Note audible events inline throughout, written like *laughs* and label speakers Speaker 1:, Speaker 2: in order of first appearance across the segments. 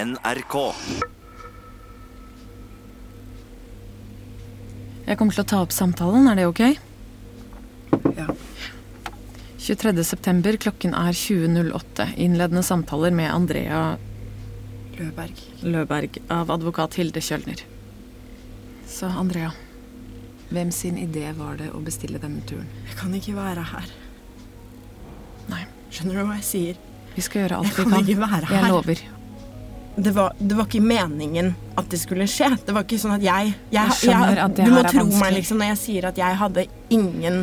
Speaker 1: NRK.
Speaker 2: Jeg kommer til å ta opp samtalen, er det ok?
Speaker 3: Ja.
Speaker 2: 23. september, klokken er 20.08. Innledende samtaler med Andrea
Speaker 3: Løberg.
Speaker 2: Løberg av advokat Hilde Kjølner. Så Andrea, hvem sin idé var det å bestille denne turen?
Speaker 3: Jeg kan ikke være her.
Speaker 2: Nei,
Speaker 3: Skjønner du hva jeg sier?
Speaker 2: vi skal gjøre alt
Speaker 3: Jeg
Speaker 2: vi
Speaker 3: kan
Speaker 2: kan.
Speaker 3: ikke være her.
Speaker 2: Jeg lover.
Speaker 3: Det var, det var ikke meningen at det skulle skje. Det var ikke sånn at jeg Jeg,
Speaker 2: skjønner at det
Speaker 3: Du må
Speaker 2: her er
Speaker 3: tro meg
Speaker 2: vanskelig.
Speaker 3: liksom når jeg sier at jeg hadde ingen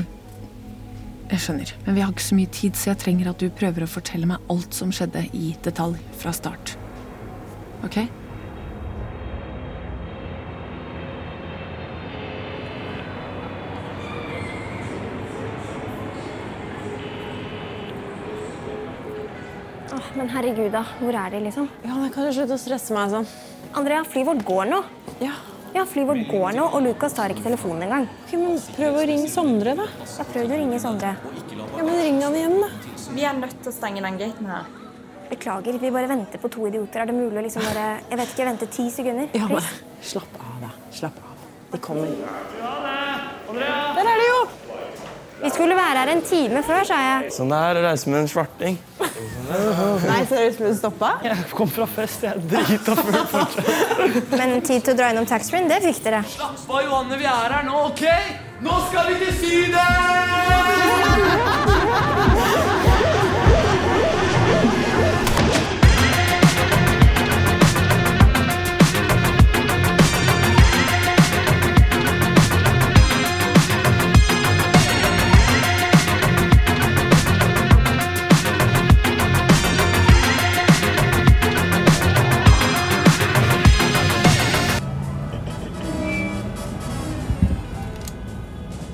Speaker 2: Jeg skjønner, men vi har ikke så mye tid, så jeg trenger at du prøver å fortelle meg alt som skjedde i detalj fra start. Ok?
Speaker 4: Åh, men herregud, da. Hvor er de, liksom?
Speaker 5: Ja, da kan du slutte å stresse meg sånn.
Speaker 4: Andrea, flyet vårt går nå.
Speaker 5: Ja,
Speaker 4: Ja, flyet vårt går nå, og Lukas tar ikke telefonen engang.
Speaker 5: ok, men Prøv å ringe Sondre, da.
Speaker 4: Jeg prøvde å ringe Sondre.
Speaker 5: Ja, men Ring han igjen, da.
Speaker 6: Vi er nødt til å stenge den gaten her.
Speaker 4: Beklager, vi bare venter på to idioter. Er det mulig å liksom bare Jeg vet ikke, vente ti sekunder?
Speaker 5: Ja, men
Speaker 4: Please?
Speaker 5: Slapp av, da. Slapp av. De kommer.
Speaker 4: Vi skulle være her en time før, sa jeg.
Speaker 7: Sånn det er å reise med en svarting.
Speaker 5: Nei, seriøst, ble du stoppa?
Speaker 7: Jeg kom fra fest, jeg er drita full.
Speaker 4: Men tid til å dra innom taxfree-en, det fikk dere.
Speaker 8: Slapp av, Johanne. Vi er her nå, OK? Nå skal vi til Syden!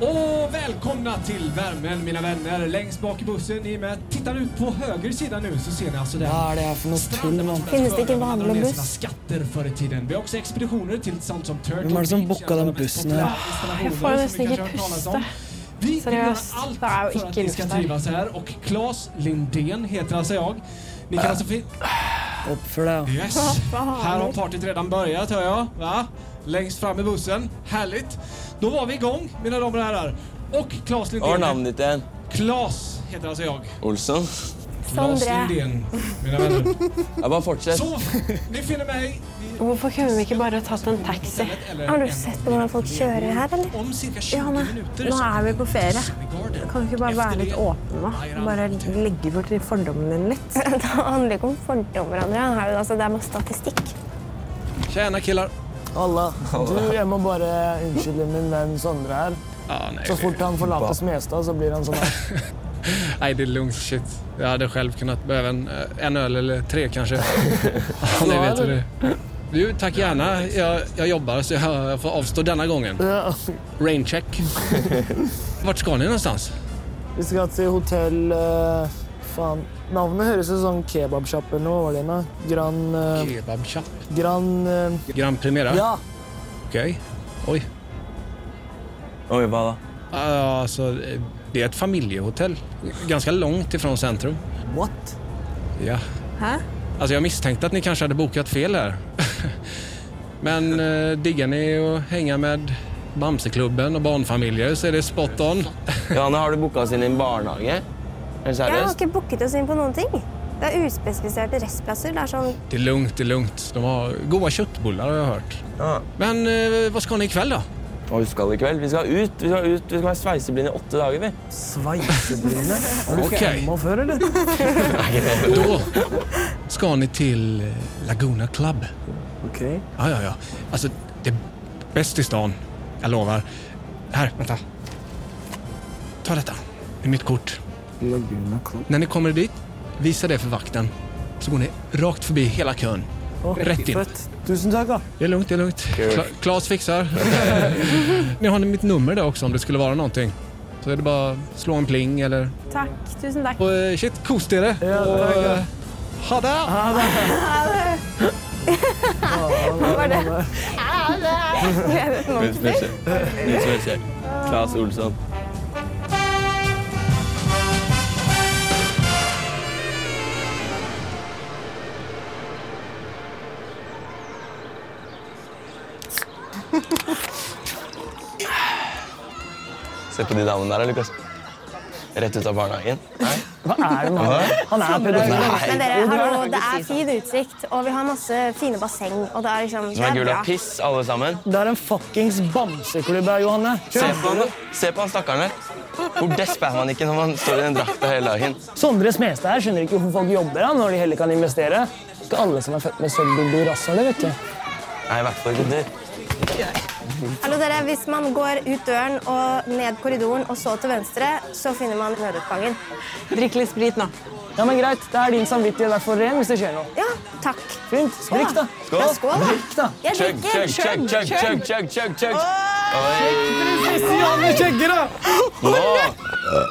Speaker 9: Och välkomna till värmen mina vänner. Längst bak i bussen, ni är med. Tittar ut på höger sida nu så ser ni altså alltså den.
Speaker 7: Hva er det her for noe tull, mann?
Speaker 4: Finnes det ikke en
Speaker 9: Alla
Speaker 4: vanlig
Speaker 9: med sina
Speaker 4: buss?
Speaker 9: skatter förr i tiden. Vi har också expeditioner till sånt sånn som Turtle
Speaker 7: Hvem er det som
Speaker 9: Beach,
Speaker 7: booka
Speaker 9: en av
Speaker 7: den
Speaker 9: de mest
Speaker 7: bussen her?
Speaker 9: populära
Speaker 4: Ah,
Speaker 9: installationerna
Speaker 5: får
Speaker 9: som
Speaker 5: nästan
Speaker 9: vi
Speaker 5: inget
Speaker 9: kanske har hört talas om.
Speaker 5: puste.
Speaker 9: Vi vill göra
Speaker 5: Seriöst,
Speaker 9: allt
Speaker 5: det är ju
Speaker 9: för att ni
Speaker 5: icke
Speaker 9: ska
Speaker 5: luft här.
Speaker 9: trivas här och Claes Lindén heter alltså jag. Ni kan altså alltså fin-
Speaker 7: Oppfør deg,
Speaker 9: Yes! Här har partyt redan börjat hör jag. Va? Längst fram i bussen. Härligt! Då var vi igång mina damer och herrar. Och Claes
Speaker 7: da. Hva er
Speaker 9: Lindén.
Speaker 7: navnet ditt igjen?
Speaker 9: Claes heter altså jeg.
Speaker 7: Olsen?
Speaker 9: Claes
Speaker 4: Sondre.
Speaker 9: Lindén, mine venner.
Speaker 7: Jeg bare fortsett.
Speaker 9: Så, dere finner meg i
Speaker 5: Hvorfor kunne vi ikke bare tatt en taxi?
Speaker 9: stedet eller
Speaker 4: Har du
Speaker 9: en
Speaker 4: sett
Speaker 9: av
Speaker 4: på hvordan folk kjører her, eller?
Speaker 9: Om cirka 20
Speaker 5: Johanne,
Speaker 9: minutter
Speaker 5: nå
Speaker 9: så
Speaker 5: er vi på ferie.
Speaker 9: Sydney Garden.
Speaker 5: Kan du ikke bare være
Speaker 9: Efter
Speaker 5: litt
Speaker 9: det-
Speaker 5: åpen, da? Bare legge bort de fordommene dine litt.
Speaker 4: *laughs* Det handler ikke om fordommer, Andrea. Her, altså, det er masse statistikk.
Speaker 9: Tjena killar.
Speaker 10: Halla. Du, jeg må bare unnskylde min venn Sondre her.
Speaker 9: Ah,
Speaker 10: Så fort han forlater Smestad, så blir han sånn her.
Speaker 9: Nej, det är lugnt. Shit. Jag hade själv kunnat behöva en, eh, en öl eller tre kanske. Ja, Ni vet hur det är. Du, tack gärna. Jag, jag jobbar så jag, jag får avstå denna gången.
Speaker 10: Ja.
Speaker 9: Raincheck. Vart ska ni någonstans?
Speaker 10: Vi skal til hotell eh, Faen. Navnet høres ut som kebabsjappe eller noe. Hva var det igjen, da? Gran eh,
Speaker 9: Kebab shop.
Speaker 10: Gran eh,
Speaker 9: Grand Primera?
Speaker 10: Ja!
Speaker 9: Okej. Oj.
Speaker 7: Oi, hva da?
Speaker 9: Ja, Alltså, det är ett familjehotell. Ganska långt ifrån centrum.
Speaker 10: What?
Speaker 9: Ja.
Speaker 5: Hæ?
Speaker 9: Alltså, jag misstänkte att ni kanske hade bokat fel här. *laughs* Men eh, diggar ni att hänga med Bamseklubben og barnfamiljer så är det spot on.
Speaker 7: Johanne, har du booka oss inn i en barnehage? Er du
Speaker 4: Jeg har
Speaker 7: seriøst?
Speaker 4: ikke booket oss inn på noen ting. Det er uspesifiserte restplasser. Det er sånn
Speaker 9: Det är lugnt, det är lugnt. De har goda köttbullar har jag hört.
Speaker 7: Ja.
Speaker 9: Men eh, vad ska ni ikväll då?
Speaker 7: Og vi skal i kveld. Vi skal ut. Vi skal, ut. Vi skal være sveiseblinde i åtte dager, vi.
Speaker 10: Sveisebrune? Har du
Speaker 9: Ok.
Speaker 10: filma før, eller? *laughs*
Speaker 9: Då ska ni till eh, Laguna Club.
Speaker 10: Ok.
Speaker 9: Ja, ja, ja. Alltså, det är bäst i stan. Jag lovar. Här, vänta. Ta detta. Det är mitt kort.
Speaker 10: Laguna Club.
Speaker 9: När ni kommer dit, visa det för vakten. Så går ni rakt förbi hela kön. Rätt in.
Speaker 10: Fett. Tusen takk, da.
Speaker 9: Det är lugnt, det är lugnt. Kla Klas fixar. *laughs* ni har mitt nummer där också om det skulle vara någonting. Så är det bara att slå en pling eller...
Speaker 5: Takk. Tusen takk.
Speaker 9: Och eh, shit, kos dere.
Speaker 10: Ja,
Speaker 9: Och,
Speaker 10: takk, ja.
Speaker 9: eh, ha det!
Speaker 7: Nytt som skjer. Nytt som skjer. Claes Olsson.
Speaker 1: Se på de damene der, Lukas. Rett ut av barnehagen. Nei.
Speaker 10: Hva er det med han? Han er pedofil.
Speaker 1: Nei.
Speaker 11: Men dere, hallo, det er fin utsikt, og vi har masse fine basseng. Og det er liksom
Speaker 1: Som er
Speaker 11: det er
Speaker 1: gul
Speaker 11: bra.
Speaker 1: og piss, alle sammen.
Speaker 10: Det er en fuckings bamseklubb her, Johanne.
Speaker 1: Se på han, da. Se på han stakkaren der. Hvor desp er man ikke når man står i den drakta hele dagen?
Speaker 10: Sondre Smestad her skjønner ikke hvorfor folk jobber da, når de heller kan investere. Ikke alle som er født med sølvbild i rasshølet, vet du.
Speaker 1: Nei, i hvert fall ikke dør.
Speaker 11: Hallo dere, Hvis man går ut døren og ned korridoren og så til venstre, så finner man nødutgangen.
Speaker 10: Drikk litt sprit nå. Ja, men greit. Da er din samvittighet i hvert fall ren hvis det skjer noe.
Speaker 11: Ja, takk.
Speaker 10: Fint. Drikk, da.
Speaker 1: Skål.
Speaker 10: Ja,
Speaker 11: Skål, da.
Speaker 10: Drikk, da.
Speaker 11: Jeg
Speaker 1: Chug,
Speaker 11: drikker.
Speaker 1: chug, chug, chug, chug, chug, chug, chug. Oi,
Speaker 10: Johanne kjegger, da!
Speaker 1: nå!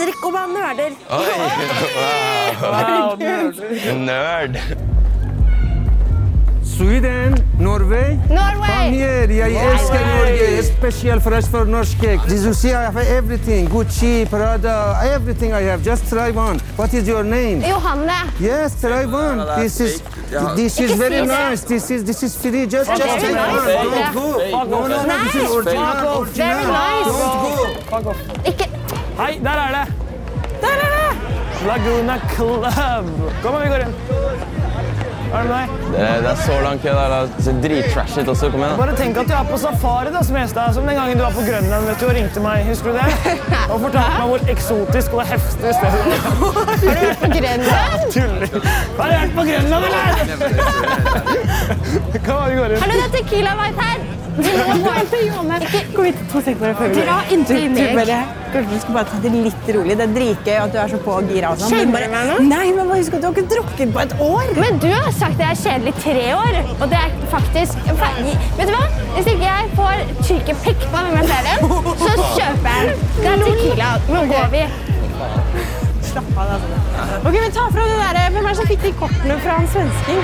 Speaker 11: Drikk og bare nerder.
Speaker 1: Oi,
Speaker 10: Wow,
Speaker 1: wow. Nerd.
Speaker 8: Sweden, Norway.
Speaker 11: Norway!
Speaker 8: Her, jeg elsker Norge. Spesielt for oss for norske. This is I have everything. Gucci, Prada, everything I have. Just try one. What is your name?
Speaker 11: Johanne.
Speaker 8: Yes, try one. This is this is very nice. This is this is free. Just just
Speaker 11: very
Speaker 8: try
Speaker 11: nice.
Speaker 8: one. Don't go. No, no, no. This is original. original. Don't go.
Speaker 10: Hei, der er det! Der er det! Laguna Club. Kom, vi går inn. Er det meg?
Speaker 1: Det, det er så lang kø der. Det ser drittrash ut også. Kom igjen, da.
Speaker 10: Bare tenk at du er på safari, da, Smestad. Som den gangen du var på Grønland vet du, og ringte meg.
Speaker 8: *laughs*
Speaker 10: Husker du det? Og fortalte meg hvor eksotisk og heftig stedet var. Har du vært på Grønland? Tuller. Har du vært på Grønland, eller? Kom, vi går inn.
Speaker 11: Hallo, det er Tequila White her.
Speaker 10: Kom hit. To sekunder bare før vi går
Speaker 11: Dra inntil
Speaker 10: Du
Speaker 11: meg.
Speaker 10: bare, kanskje du skulle bare ta det litt rolig. Det er dritgøy at du er så på og gira. og sånn.
Speaker 11: Skjønner
Speaker 10: Men bare-
Speaker 11: du meg nå?
Speaker 10: Nei, men bare husk at du har ikke drukket på et år.
Speaker 4: Men du har sagt at jeg er kjedelig i tre år, og det er faktisk Vet du hva? Hvis ikke jeg får tyrke pikk på denne serien, så kjøper jeg den. Det er Tequila. Nå går vi.
Speaker 10: Ok, men ta fra det der. Hvem er det som fikk de kortene fra han svensken?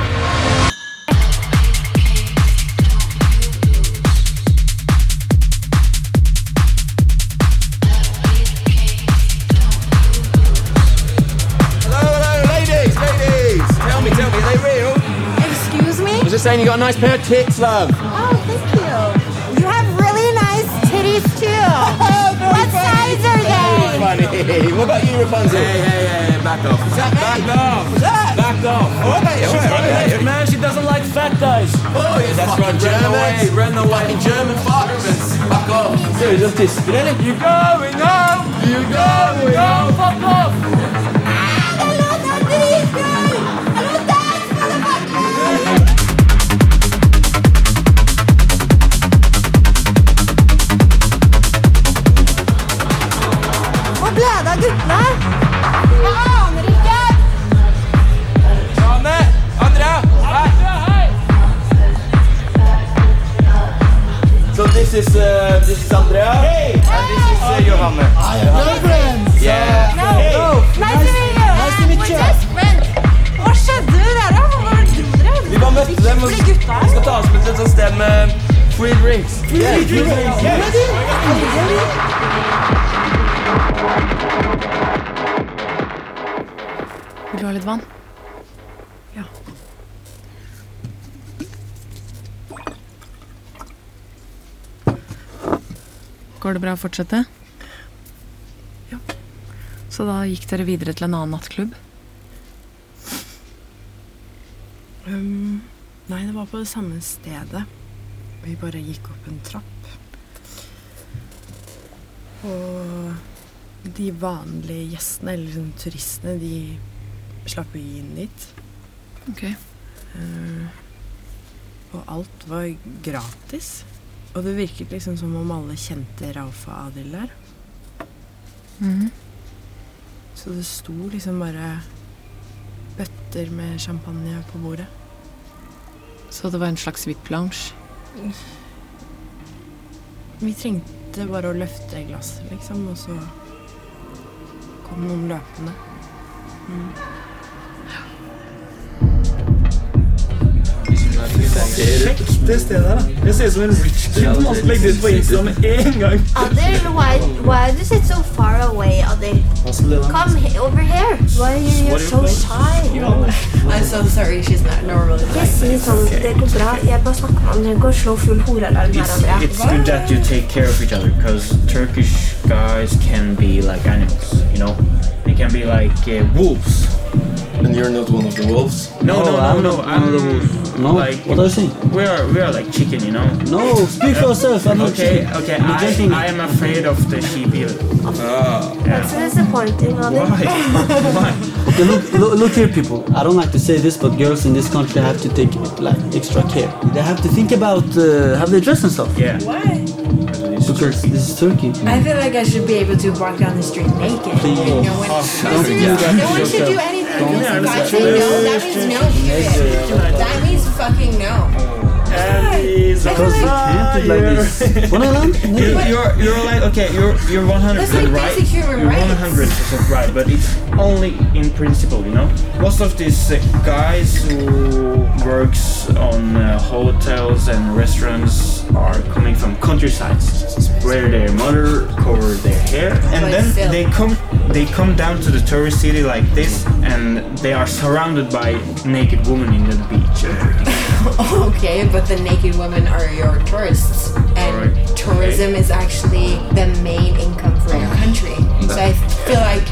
Speaker 8: Hello, hello, ladies, ladies. Tell me, tell me, are they real? Excuse me? I was just saying you got a nice pair of tits, love.
Speaker 4: You have really nice titties too. What size are they?
Speaker 8: Funny. *laughs* What about you, Rapunzel? Hey, hey, hey, hey, back off. Is that back off. What's that? Back off. Oh, okay, all right, okay.
Speaker 10: Man, she doesn't like fat guys.
Speaker 8: Oh, you That's fucking right, Germans. Away, run away. Fucking German farmers. Back off. So just this, really? You going home? You going home? Fuck off.
Speaker 4: Hvor ble det av guttene? Jeg aner ikke.
Speaker 8: Anne, Andrea, hei. So this is uh, this is Andrea. Hey. And this is uh, Johanne. Yeah.
Speaker 4: Nice to meet you. We're just friends. er
Speaker 10: Hva skjedde der, da? Hva var det du drev
Speaker 8: Vi bare møtte dem, og vi skal ta oss med til et sånt sted med free drinks. Yeah, free drinks.
Speaker 2: Vil du ha litt vann? Ja. Går det bra å fortsette? Ja. Så da gikk dere videre til en annen nattklubb?
Speaker 12: Um, nei, det var på det samme stedet. Vi bare gikk opp en trapp. Og de vanlige gjestene, eller sånn turistene, de slapp jo inn dit.
Speaker 2: Ok.
Speaker 12: Eh, og alt var gratis. Og det virket liksom som om alle kjente Rauf og Adil der.
Speaker 2: Mhm.
Speaker 12: Så det sto liksom bare bøtter med champagne på bordet.
Speaker 2: Så det var en slags VIP-lounge?
Speaker 12: Vi trengte bare å løfte glasset, liksom, og så kom noen løpende.
Speaker 10: Det stedet her, da. Jeg ser ut som en rich kid som alltid legger ut på
Speaker 13: *laughs*
Speaker 10: Insta med en gang.
Speaker 4: Adil, why, why does it so far away, Adil? Come he over here. Why are you so shy?
Speaker 11: This is
Speaker 14: sånn Det går bra. Jeg bare snakker med ham. Trenger ikke å slå full horealarm her og der.
Speaker 15: It's good that you take care of each other because Turkish guys can be like animals, you know? They can be like uh, wolves.
Speaker 8: And you're not one of the wolves?
Speaker 15: No, no, no, no.
Speaker 8: I'm
Speaker 15: the wolf.
Speaker 8: Oh,
Speaker 15: No, like, what are you saying? We are, we are like chicken, you know?
Speaker 13: No, speak for yourself, I'm not
Speaker 15: okay,
Speaker 13: chicken.
Speaker 15: Okay,
Speaker 13: I'm not
Speaker 15: okay.
Speaker 13: chicken.
Speaker 15: I, I am afraid of the sheep here.
Speaker 14: That's
Speaker 15: Yeah.
Speaker 14: disappointing, Adil.
Speaker 13: Okay, look, look, look here, people. I don't like to say this, but girls in this country have to take like extra care. They have to think about uh, how they dress and stuff.
Speaker 15: Yeah.
Speaker 16: Why?
Speaker 13: Because this is Turkey.
Speaker 16: I feel like I should be able to walk down the street naked.
Speaker 13: Please.
Speaker 16: No one,
Speaker 13: Don't do that.
Speaker 16: no one should Ah, do anything.
Speaker 13: Don't
Speaker 16: Because if I
Speaker 13: do
Speaker 16: say no, that means no, period. That means fucking no.
Speaker 13: Because they can't do like this. What I learned?
Speaker 15: You, *laughs* you're, you're like, okay, you're, you're 100%
Speaker 16: That's like
Speaker 15: right.
Speaker 16: basic human
Speaker 15: you're
Speaker 16: rights.
Speaker 15: 100% right, but it's only in principle, you know? Most of these uh, guys who works on uh, hotels and restaurants are coming from countrysides, where their mother cover their hair, and
Speaker 8: But
Speaker 15: then
Speaker 8: still.
Speaker 15: they come they come down to the tourist city like this, and they are surrounded by naked women in the beach. and everything.
Speaker 16: Okay, but the naked women are your tourists, and
Speaker 15: Alright.
Speaker 16: tourism is actually the main income for your country. So I feel like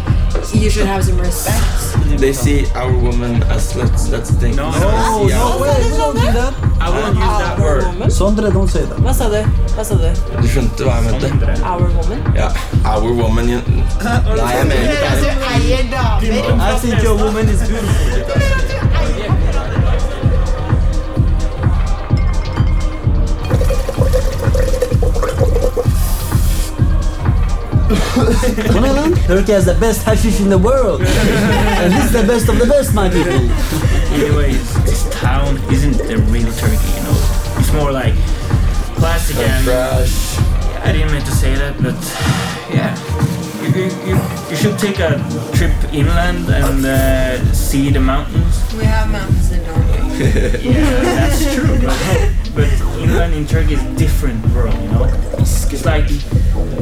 Speaker 16: you should have some respect.
Speaker 1: They see our woman as sluts, that's the thing. No,
Speaker 13: no, no way, we don't do that.
Speaker 1: I won't use that word.
Speaker 13: Sondre, don't say that.
Speaker 12: Hva sa du? Hva sa du?
Speaker 1: Du skjønte hva jeg mente?
Speaker 12: Our woman?
Speaker 1: Ja, our woman you... Nei, jeg mener ikke det.
Speaker 12: eier
Speaker 13: I think your woman is beautiful. What I learned? Turkey has the best hashish in
Speaker 15: *laughs*
Speaker 13: the world. and this is the best of the best, my people.
Speaker 15: Anyways, this town isn't the real Turkey, you know. It's more like plastic and trash. I didn't mean to say that, but yeah. You, you, you, you should take a trip inland and uh, see the mountains.
Speaker 16: We have mountains in Norway.
Speaker 15: yeah, that's true. *laughs* But, but inland in Turkey is different world, you know. It's, it's like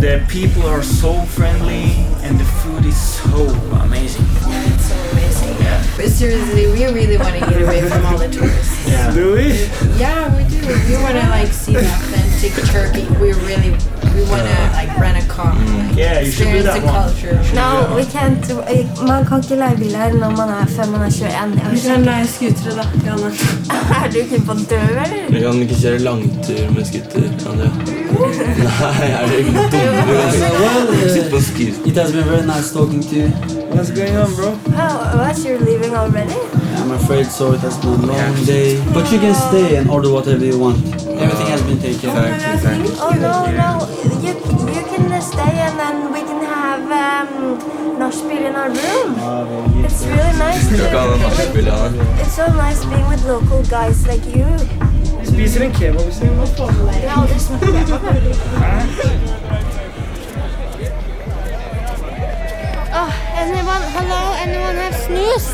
Speaker 15: the people are so friendly and the food is so amazing.
Speaker 16: It's so amazing.
Speaker 15: Yeah.
Speaker 16: But seriously, we really want to get away from all the tourists.
Speaker 15: Yeah. Do we?
Speaker 16: Yeah, we do. We want to like see the authentic Turkey. We really, we want to like rent a car. Like,
Speaker 15: Mm. Yeah, you should do
Speaker 16: experience
Speaker 15: that
Speaker 16: the
Speaker 15: one.
Speaker 16: culture.
Speaker 4: No, we can't. Man kan ikke leie bil her når man er før man er 21.
Speaker 16: Vi kan leie
Speaker 4: skutere, da. *laughs* er du ikke på død, eller?
Speaker 1: Du kan ikke kjøre langtur med skuter, kan du? Nei, er du ikke
Speaker 13: Well, uh, it has been very nice talking to you.
Speaker 15: What's going on, bro?
Speaker 4: Oh, what, you're leaving already?
Speaker 13: I'm afraid so. It has been a long day. But you can stay and order whatever you want. Everything has been taken.
Speaker 4: Oh no, no. You, you can stay and then we can have um, nachspiel in our room. It's really nice.
Speaker 1: Skal ikke ha den
Speaker 4: To,
Speaker 1: nachspielet her.
Speaker 4: it's so nice being with local guys like you.
Speaker 5: Vi spiser en kebab i stedet.
Speaker 4: Jeg har aldri smakt kebab.
Speaker 17: Oh, anyone, hello, anyone have snus?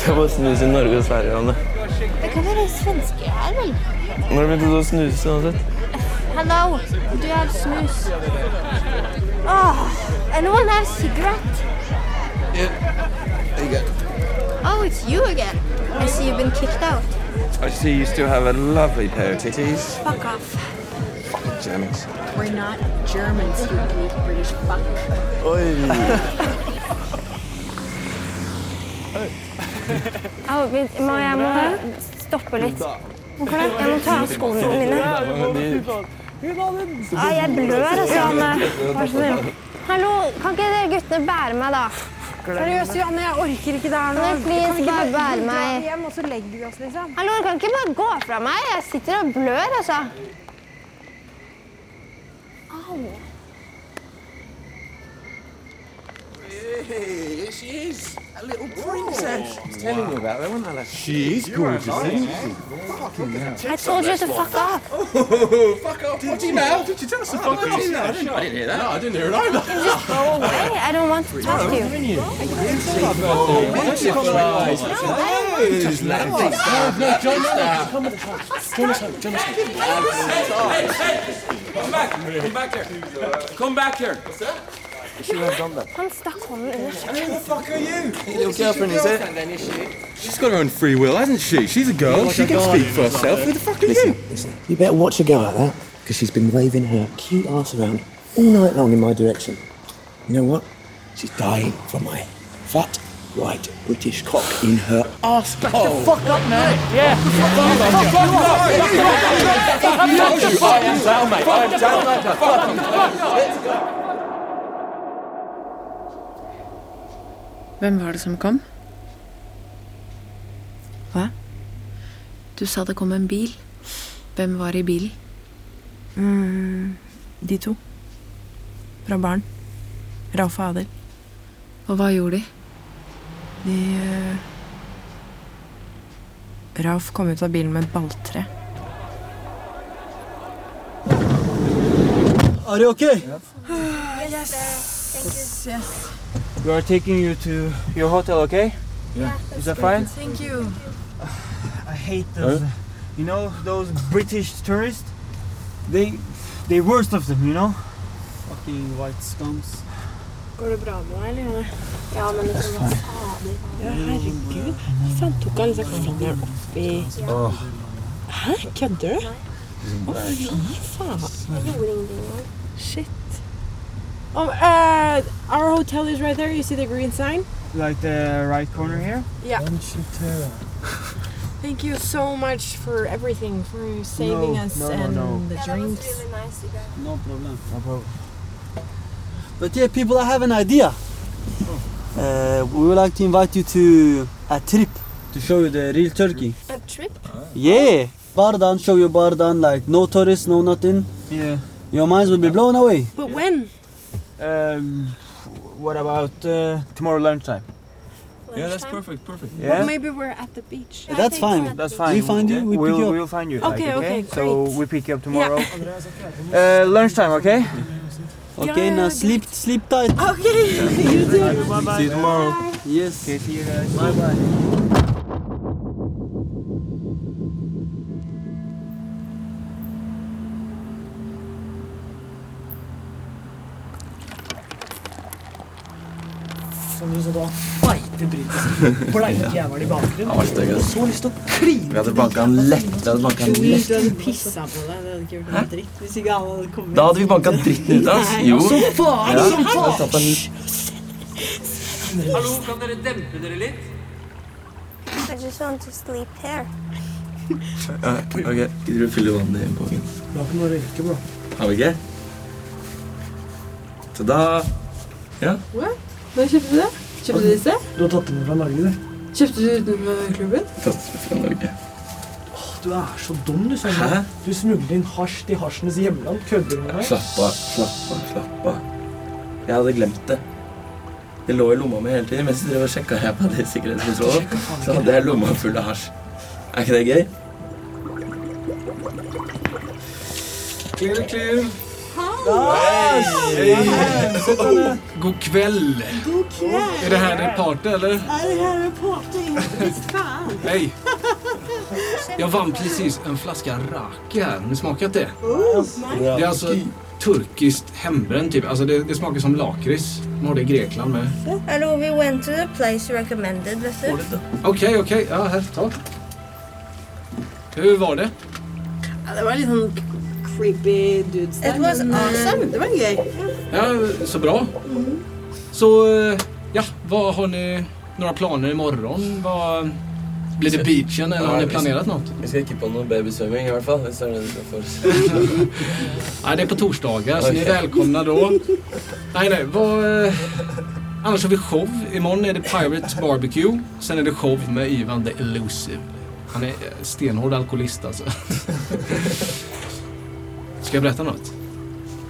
Speaker 1: Skal bare snuse i Norge og Sverige, Anne.
Speaker 17: Det kan være svensker her, vel?
Speaker 1: Når begynte du å snuse uansett?
Speaker 17: Hello, do you have snus? Oh, anyone have cigarette? Oh, it's you again.
Speaker 4: I see you've been kicked out.
Speaker 18: I see you still have a lovely pair of titties.
Speaker 4: Fuck off.
Speaker 18: Gems.
Speaker 12: We're not Germans, you weak British fuck.
Speaker 1: *laughs*
Speaker 4: Au, vi, må, jeg må stoppe litt. Hvorfor det? Jeg må ta av skoene mine. Ah, jeg blør, altså. Anne. Vær så snill.
Speaker 17: Hallo, kan ikke dere guttene bære meg, da?
Speaker 4: Seriøst, Johanne, jeg orker ikke det her nå.
Speaker 17: Nei, please,
Speaker 4: Kan vi ikke
Speaker 17: bare bær
Speaker 4: dra
Speaker 17: meg.
Speaker 4: hjem, og så legger vi oss, liksom.
Speaker 17: Hallo, dere kan ikke bare gå fra meg? Jeg sitter og blør, altså.
Speaker 4: Au.
Speaker 18: Here she is, a little princess. I was telling you about that, wasn't I? Leslie?
Speaker 19: She is
Speaker 18: You were
Speaker 19: gorgeous,
Speaker 18: nice,
Speaker 19: isn't
Speaker 18: man. Fucking
Speaker 17: I
Speaker 18: hell.
Speaker 17: told you to fuck off.
Speaker 18: Oh, fuck off. What
Speaker 19: Did
Speaker 18: do
Speaker 19: you
Speaker 18: you
Speaker 19: now?
Speaker 18: know?
Speaker 19: Did you tell us to
Speaker 18: Oh,
Speaker 19: fuck
Speaker 18: no, I
Speaker 19: off?
Speaker 18: didn't- I didn't- I didn't hear that.
Speaker 19: No, I didn't hear it either.
Speaker 17: Just go away. I don't want to talk to you.
Speaker 19: Oh,
Speaker 18: beautiful.
Speaker 19: Just let it be. No, John, stop.
Speaker 18: Come with us. Join us home. Join us
Speaker 19: Hey, hey, hey! Come back! Come back here! Come back here! What's that?
Speaker 8: You shouldn't have done that.
Speaker 4: Han stakk hånden under
Speaker 8: Who the fuck are you?
Speaker 4: Your
Speaker 8: It's your
Speaker 4: girlfriend, is it?
Speaker 8: girlfriend, Then, is she?
Speaker 1: She's got her own free will, hasn't she? She's a girl.
Speaker 8: Like
Speaker 1: she
Speaker 8: a
Speaker 1: can
Speaker 8: guardian
Speaker 1: speak for
Speaker 8: or something.
Speaker 1: herself. Who the fuck are you?
Speaker 20: You better watch her go like that, because she's been waving her cute ass around all night long in my direction. You know what? She's dying for my fat, white British cock in her
Speaker 1: Uh,
Speaker 8: Ass back the fuck up, man.
Speaker 21: Yeah.
Speaker 8: Fuck up, mate.
Speaker 20: Fuck
Speaker 8: I
Speaker 20: up.
Speaker 8: told you, I am down, mate. I am down like that. Fuck up.
Speaker 2: Hvem var det som kom? Hva? Du sa det kom en bil. Hvem var i bilen?
Speaker 22: Mm, de to. Fra barn. Rafa og Adel.
Speaker 2: Og hva gjorde de?
Speaker 22: De eh, Ralf kom ut av bilen med et balltre.
Speaker 13: Are you okay?
Speaker 22: Yes, yes.
Speaker 15: We are taking you to your hotel, okay? Yeah. Is that fine?
Speaker 22: Thank you.
Speaker 15: I hate those. You know those British tourists? They, they worst of them. You know. Fucking white scums.
Speaker 12: Går det bra med deg, eller? Ja, men liksom, hva fader? Ja, herregud. Faen, tok han liksom fingeren opp i Hæ? Kødder du? Å, fy faen. Shit. Um, uh, our hotel is right there. You see the green sign?
Speaker 15: Like the right corner here.
Speaker 12: Yeah. Thank you so much for everything, for saving
Speaker 15: No,
Speaker 12: us
Speaker 15: no, no,
Speaker 12: and
Speaker 15: no.
Speaker 12: the drinks.
Speaker 13: No problem. But yeah, people, I have an idea.
Speaker 15: Oh.
Speaker 13: Uh, we would like to invite you to a trip to show you the real Turkey.
Speaker 12: A trip?
Speaker 13: Yeah, Bardan, show you Bardan, like no tourists, no nothing.
Speaker 15: Yeah.
Speaker 13: Your minds will be blown away.
Speaker 12: But when?
Speaker 15: Um, what about uh, tomorrow lunchtime?
Speaker 1: Yeah, that's perfect, perfect.
Speaker 15: Yeah.
Speaker 12: Well, maybe we're at the beach.
Speaker 13: That's fine.
Speaker 15: That's fine.
Speaker 13: We find you. We
Speaker 15: will
Speaker 13: pick you up.
Speaker 15: We'll find you.
Speaker 12: Okay,
Speaker 15: like,
Speaker 12: okay,
Speaker 15: So
Speaker 12: great.
Speaker 15: we pick you up tomorrow.
Speaker 12: Yeah.
Speaker 15: Uh, lunchtime, okay?
Speaker 13: Okay, now sleep, sleep tight.
Speaker 12: Okay, you too.
Speaker 15: See you tomorrow.
Speaker 13: Yes.
Speaker 15: Okay, see you guys.
Speaker 13: Bye bye.
Speaker 10: Som du så da feite britiske bleike jævler i bakgrunnen.
Speaker 8: Ja, alt det er gøy.
Speaker 10: Og så lyst til å kline
Speaker 8: Vi hadde banka han lett. Vi hadde banka han
Speaker 12: Hvis
Speaker 8: lett.
Speaker 12: du hadde pissa på deg, det hadde ikke gjort noe dritt. Hvis ikke alle hadde kommet
Speaker 23: Da hadde vi banka dritten ut av oss.
Speaker 12: Nei,
Speaker 23: Jo.
Speaker 12: som faen,
Speaker 23: Ja,
Speaker 12: som
Speaker 23: vi hadde
Speaker 12: faen.
Speaker 23: tatt en-
Speaker 4: Hallo, kan dere dempe dere litt? I just want to sleep here.
Speaker 1: Uh, ok, gidder du å fylle vannet i
Speaker 10: Det
Speaker 1: innpåken?
Speaker 10: var ikke noe å røyke, bro.
Speaker 1: Har vi ikke? Så da
Speaker 12: What? Når kjøpte du det? Kjøpte du disse?
Speaker 10: Du har tatt dem med fra Norge, du.
Speaker 12: Kjøpte du utenfor klubben?
Speaker 1: Tatt med fra Norge.
Speaker 10: Åh, Du er så dum, du. Sånn.
Speaker 1: Hæ?
Speaker 10: Du smugler inn hasj til hasjenes hjemland. Kødder du med meg?
Speaker 1: Slapp av, slapp av, slapp av. Jeg hadde glemt det. Det lå i lomma mi hele tiden. Mens jeg drev og sjekka her på det sikkerhetskontrollen, så hadde jeg lomma full av hasj. Er ikke det gøy? Clear, clear.
Speaker 9: God kväll!
Speaker 12: God kveld.
Speaker 9: Är det här ett party eller?
Speaker 12: Er det her en party? Visst faen.
Speaker 9: Hej! Jag vann precis en flaska rak här. Har ni smakat det?
Speaker 12: Oh,
Speaker 9: Det är alltså turkiskt hembränt typ. Alltså det, det smakar som lakrits. De har det i Grekland med.
Speaker 4: Hello, we went to the place you recommended, vet du.
Speaker 9: Okej, okej. Ja, här. Ta. Hur var det?
Speaker 12: Ja, det var litt sånn creepy dudes der.
Speaker 4: It was
Speaker 12: men, eh,
Speaker 4: awesome.
Speaker 12: Det var gøy.
Speaker 9: Ja, så bra. Så, eh, ja, vad har ni några planer imorgon? Vad, blir det beachen eller har ni planerat något?
Speaker 23: Vi skal ikke på noe babysvømming i hvert fall. Hvis det er det du skal
Speaker 9: Nej, det är på torsdagar, så ni är välkomna då. Nej, nej, vad... eh, Annars har vi show. Imorgon är det Pirates Barbecue. Sen är det show med Ivan the Elusive. Han är eh, stenhård alkoholist alltså. Ska jag berätta något?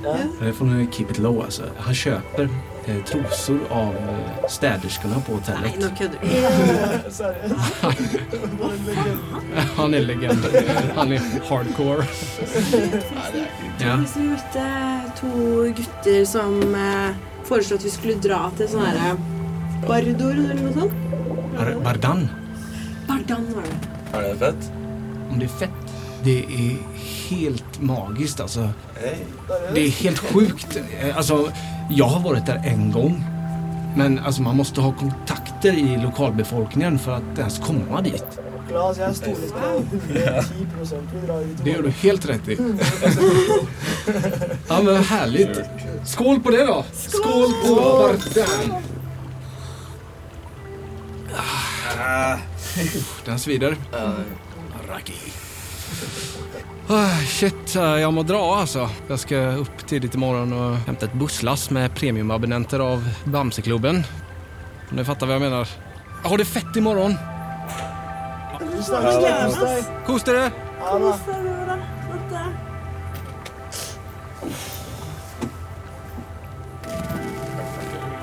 Speaker 10: Ja.
Speaker 9: Det får ni eh, keep it low alltså. Han köper eh, trosor av eh, städerskorna på hotellet.
Speaker 12: Nei, nå kødder
Speaker 9: Ja.
Speaker 12: du.
Speaker 9: *laughs* Han är legend. Han är hardcore. Ja.
Speaker 12: Vi møtte to gutter som eh, foreslo at vi skulle dra til sånn herre Bardor eller noe sånt.
Speaker 9: Bar- Bardan.
Speaker 12: Bardan var det.
Speaker 9: Är det fett? Om det är fett? Det är helt magiskt alltså. Det är helt sjukt. Eh, Alltså, Jag har varit där en gång. Men alltså, man måste ha kontakter i lokalbefolkningen för att ens komma dit.
Speaker 10: Claes, jeg stoler på 110 vi drar ut.
Speaker 9: Det gör du helt rätt i. ja, men härligt. Skål på det då! Skål på Vartan! Ah, Den svider. Raggi. Ah, Shit, eh, jag må dra alltså. Jag ska upp tidigt imorgon och hämta ett busslass med premiumabonnenter av Bamseklubben. Om ni fattar vad jag menar. Jag har det fett imorgon.
Speaker 10: Vi snakkes. Kos deg.
Speaker 9: Kos dere!
Speaker 10: Ha det.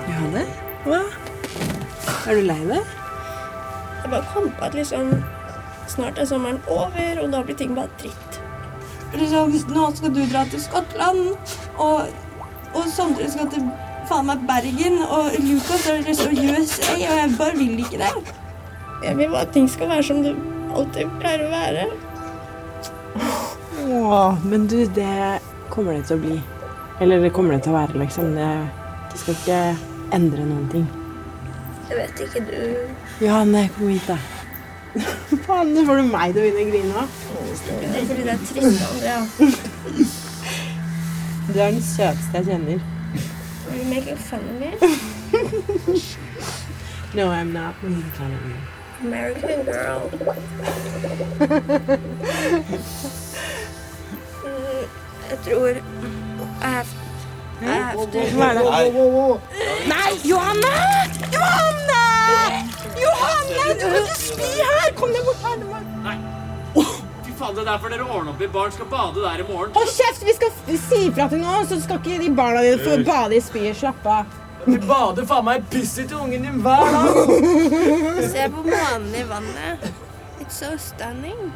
Speaker 12: Johanne? Hva? Er du lei deg?
Speaker 14: Jeg bare kom på at liksom snart er sommeren over, og da blir ting bare dritt.
Speaker 24: Liksom, nå skal du dra til Skottland, og, og Sondre skal til faen meg Bergen, og Lucas drar til USA, og jeg bare vil ikke det.
Speaker 14: Jeg vil bare at ting skal være som det alltid pleier å være.
Speaker 12: Åh, men du, det kommer det til å bli. Eller det kommer det til å være, liksom. Det, det skal ikke endre noen ting.
Speaker 14: Jeg vet ikke, du
Speaker 12: Johanne, kom hit, da. *laughs* Faen, nå får du meg til å begynne å grine av.
Speaker 14: Det er fordi det er trist, Andrea.
Speaker 12: Du er den søteste jeg kjenner.
Speaker 14: You make fun of me.
Speaker 12: No, I'm not making fun of you.
Speaker 14: American girl. Mm, Jeg tror I have, I have to
Speaker 24: Nei, Johanne! Johanne! Johanne, du kan ikke spy her! Kom deg bort her.
Speaker 25: Fy faen, det er derfor dere ordner opp i barn skal bade der i morgen.
Speaker 24: Hold kjeft! Vi skal f- si ifra til noen, så skal ikke de barna dine få bade i spyet. Slapp av.
Speaker 8: Du bader faen meg i pisset til ungen din hver dag!
Speaker 14: Se på månen i vannet. It's so stunning.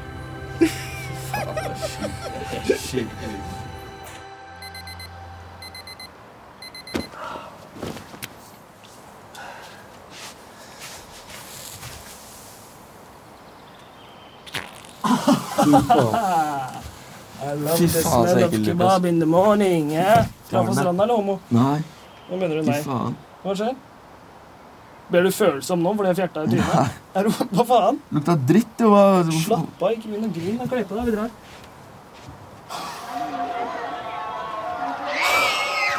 Speaker 8: I love
Speaker 7: Fy
Speaker 8: the
Speaker 7: faen, så
Speaker 8: smell of
Speaker 7: ekkelt, Lukas.
Speaker 8: kebab in the morning. eh? Dra på
Speaker 7: Klar,
Speaker 8: stranda eller homo?
Speaker 7: Nei.
Speaker 8: Nå mener du
Speaker 7: Fy
Speaker 8: nei.
Speaker 7: faen.
Speaker 8: Hva skjer? Ble du følsom nå fordi jeg fjerta i trynet? Er du, hva faen?
Speaker 7: Lukta dritt, jo. hva- hvorfor-
Speaker 8: Slapp av, ikke begynn å grine. da. Kle på deg, vi drar.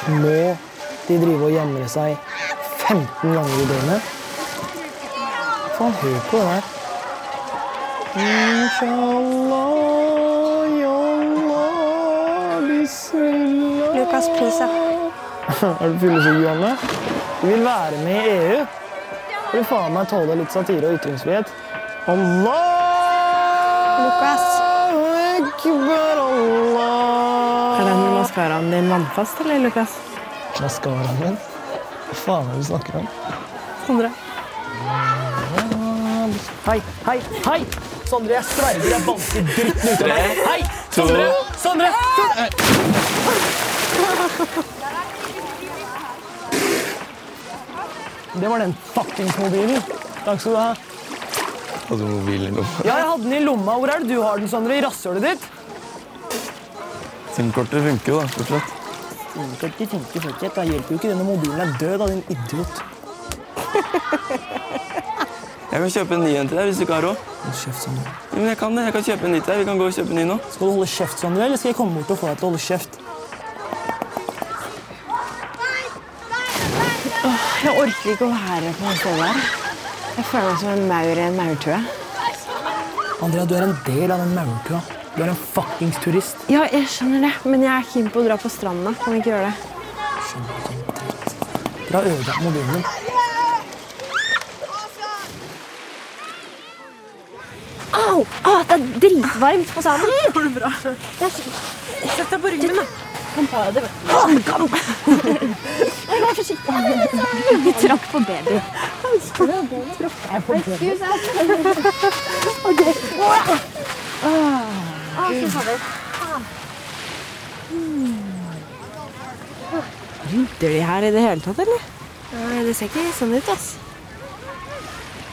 Speaker 10: Må de drive og jamre seg 15 ganger i døgnet? Faen, hør på det her. Inshallah, yallah, bismillah.
Speaker 4: Lukas, please,
Speaker 10: *laughs* Er du fyllesyk, Johanne? Du vil være med i E EU? Vil du faen meg tåle litt satire og ytringsfrihet? Allah!
Speaker 4: Lukas.
Speaker 10: Akbar, Allah!
Speaker 12: Er den maskaraen din vannfast, eller, Lukas?
Speaker 10: Maskaraen min? Hva faen er det du snakker om?
Speaker 12: Sondre.
Speaker 10: Hei, hei, hei! Sondre, jeg sverger jeg banker dritten ut av deg. Hei! Sondre! Sondre! Det var den fuckings mobilen. Takk skal du ha.
Speaker 23: altså,
Speaker 1: Hadde du mobilen nå?
Speaker 10: Ja, jeg hadde den i lomma. Hvor er det du har den, Sondre? I rasshølet ditt?
Speaker 1: SIM-kortet funker jo, da, stort sett.
Speaker 10: Funker, funker, funker. Da hjelper jo ikke denne mobilen er død, da, din idiot.
Speaker 1: Jeg kan kjøpe en ny en til deg hvis du ikke har råd. Ja, men jeg kan det. Jeg kan kjøpe en ny til deg. Vi kan gå og kjøpe en ny nå.
Speaker 10: Skal du holde kjeft, Sondre, eller skal jeg komme bort og få deg til å holde kjeft?
Speaker 12: Åh, Jeg orker ikke å være på den stedet her. Jeg føler meg som en maur i en maurtue.
Speaker 10: Andrea, du er en del av den maurkua. Du er en fuckings turist.
Speaker 24: Ja, jeg skjønner det, men jeg er keen på å dra på stranda. Kan vi ikke gjøre det?
Speaker 10: Dere har ødelagt mobilen din.
Speaker 4: Au! Au, det er dritvarmt på
Speaker 24: *laughs*
Speaker 4: sanden. Går det bra? Sett deg på ryggen min, da. Kom på deg, du. Kom,
Speaker 14: *laughs*
Speaker 4: kom! Nei, Vær forsiktig. Vi tråkk på baby. Tråkka jeg på baby? OK. Å, fy fader.
Speaker 12: Rydder de her i det hele tatt, eller?
Speaker 4: Nei, det ser ikke sånn ut, ass.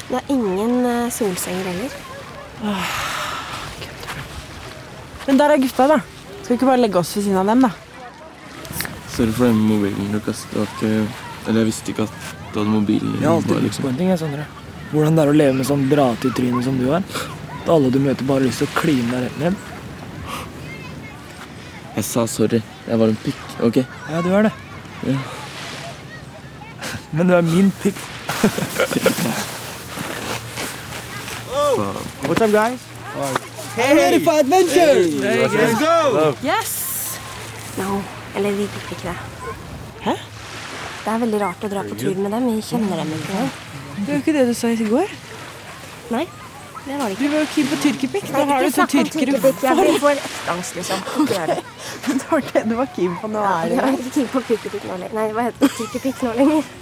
Speaker 4: Det er ingen eh, solsenger heller.
Speaker 12: Men der er gutta, da. Skal vi ikke bare legge oss ved siden av dem, da?
Speaker 1: Sorry for det med mobilen, Lukas. Det var ikke Eller jeg visste ikke at du hadde mobilen.
Speaker 10: Jeg har alltid
Speaker 1: bare,
Speaker 10: lurt på en ting, jeg, Sondre. Hvordan det er å leve med sånn drate i trynet som du har. At alle du møter, bare har lyst til å kline deg rett ned.
Speaker 1: Jeg sa sorry. Jeg var en pikk, OK?
Speaker 10: Ja, du er det.
Speaker 1: Ja.
Speaker 10: Men du er min pikk.
Speaker 1: Faen.
Speaker 15: What's up, guys?
Speaker 8: I'm ready for adventure! Hey,
Speaker 15: let's go!
Speaker 4: Yes! No, eller vi liker ikke det. Hæ? Det er veldig rart å dra på tur med dem. Vi kjenner dem ikke engang.
Speaker 26: Det var jo ikke det du sa i går.
Speaker 4: Nei, det var det ikke.
Speaker 26: Du var jo keen på tyrkerpikk. Da
Speaker 4: Nei,
Speaker 26: har du
Speaker 4: ikke
Speaker 26: to
Speaker 4: snakk om
Speaker 26: tyrkere
Speaker 4: tyrkerpikk. Jeg blir
Speaker 26: for.
Speaker 4: for ekteangst, liksom. Ikke gjør det.
Speaker 26: *laughs* Det var det du var keen på. Nå er
Speaker 4: Jeg
Speaker 26: det
Speaker 4: er ikke keen på pukepikk nå lenger. Nei, hva heter det? Tyrkerpikk nå lenger.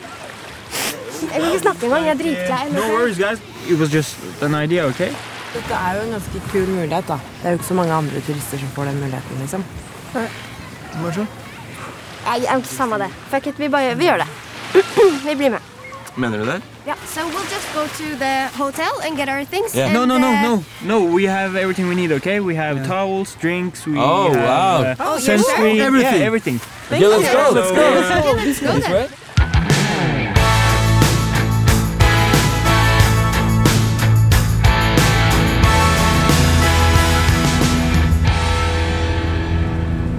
Speaker 4: Jeg vil ikke snakke engang. Jeg er
Speaker 15: No
Speaker 4: dritlei.
Speaker 15: worries, guys. It was just an idea, okay?
Speaker 12: Dette er jo en ganske kul mulighet, da. Det er jo ikke så mange andre turister som får den muligheten, liksom.
Speaker 4: Nei.
Speaker 15: Marshall?
Speaker 4: Nei, jeg er ikke samme det. Fuck it, vi bare vi gjør det. *clears throat* Vi blir med.
Speaker 1: Mener du det?
Speaker 27: Yeah, so we'll just go to the hotel and get our things.
Speaker 1: Yeah.
Speaker 27: and,
Speaker 15: No, no, no,
Speaker 27: uh,
Speaker 15: no, no. We have everything we need. Okay, we have towels, drinks. We
Speaker 1: Oh,
Speaker 15: have,
Speaker 1: wow.
Speaker 15: uh,
Speaker 27: Oh,
Speaker 4: eh,
Speaker 27: you're
Speaker 15: sunscreen,
Speaker 27: sure?
Speaker 15: everything.
Speaker 1: Everything.
Speaker 15: Yeah, everything.
Speaker 27: Thank Okay, let's you. go, let's
Speaker 15: So,
Speaker 4: Oh,
Speaker 27: go,
Speaker 15: uh,
Speaker 27: let's go. Okay, let's go then.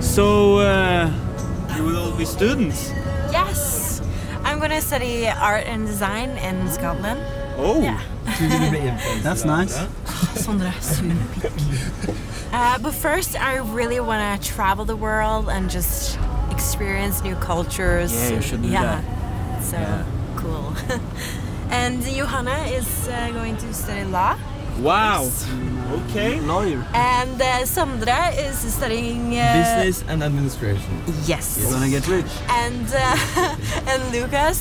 Speaker 15: So uh, you will all be students.
Speaker 16: Yes! I'm going to study art and design in Scotland.
Speaker 15: Oh,
Speaker 13: That's nice.
Speaker 16: Sondre, Uh, but first, I really want to travel the world and just experience new cultures.
Speaker 28: Yeah, you should do
Speaker 16: yeah. So cool. *laughs* and Johanna is uh, going to study law.
Speaker 15: Wow. Okay. Lawyer.
Speaker 16: And uh, Sondre is studying uh,
Speaker 1: Business and administration.
Speaker 16: Yes.
Speaker 13: You're gonna get rich.
Speaker 16: And uh, *laughs* and Lucas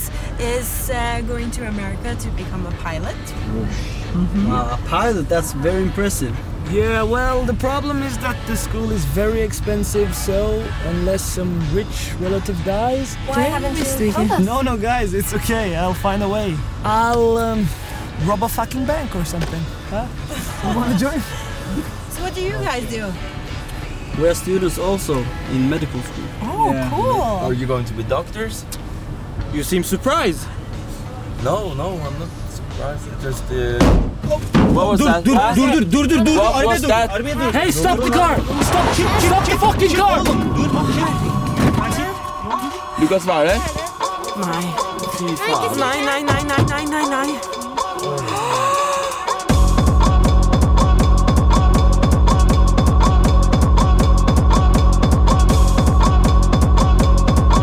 Speaker 16: is uh, going to America to become a pilot.
Speaker 13: Wow, a pilot, that's very impressive.
Speaker 10: Yeah, well, the problem is that the school is very expensive, so unless some rich relative dies,
Speaker 16: Why haven't you told us?
Speaker 10: No, no, guys, it's okay. I'll find a way. I'll um, rob a fucking bank or something. Huh? You wanna join?
Speaker 16: So what do you guys do?
Speaker 13: We are students also in medical school.
Speaker 16: Oh, cool.
Speaker 1: Are you going to be doctors?
Speaker 13: You seem surprised.
Speaker 1: No, no, I'm not surprised. It's just the.
Speaker 13: What
Speaker 1: was
Speaker 15: Dur,
Speaker 1: that?
Speaker 15: dur,
Speaker 1: Ah,
Speaker 15: dur, dur, dur, dur, dur.
Speaker 1: What
Speaker 15: Arbeid
Speaker 1: was
Speaker 15: dur,
Speaker 1: that?
Speaker 15: arbeid dur.
Speaker 10: Hey, stop the car! Stop, shit, stop the fucking car!
Speaker 1: Lukas, hva er det?
Speaker 16: Nei.
Speaker 1: Fy faen.
Speaker 16: Nei, nei, nei, nei, nei, nei, nei.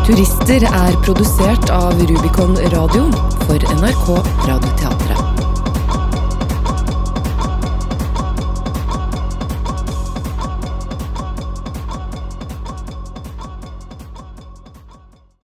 Speaker 2: Turister er produsert av Rubicon Radio for NRK Radioteatret.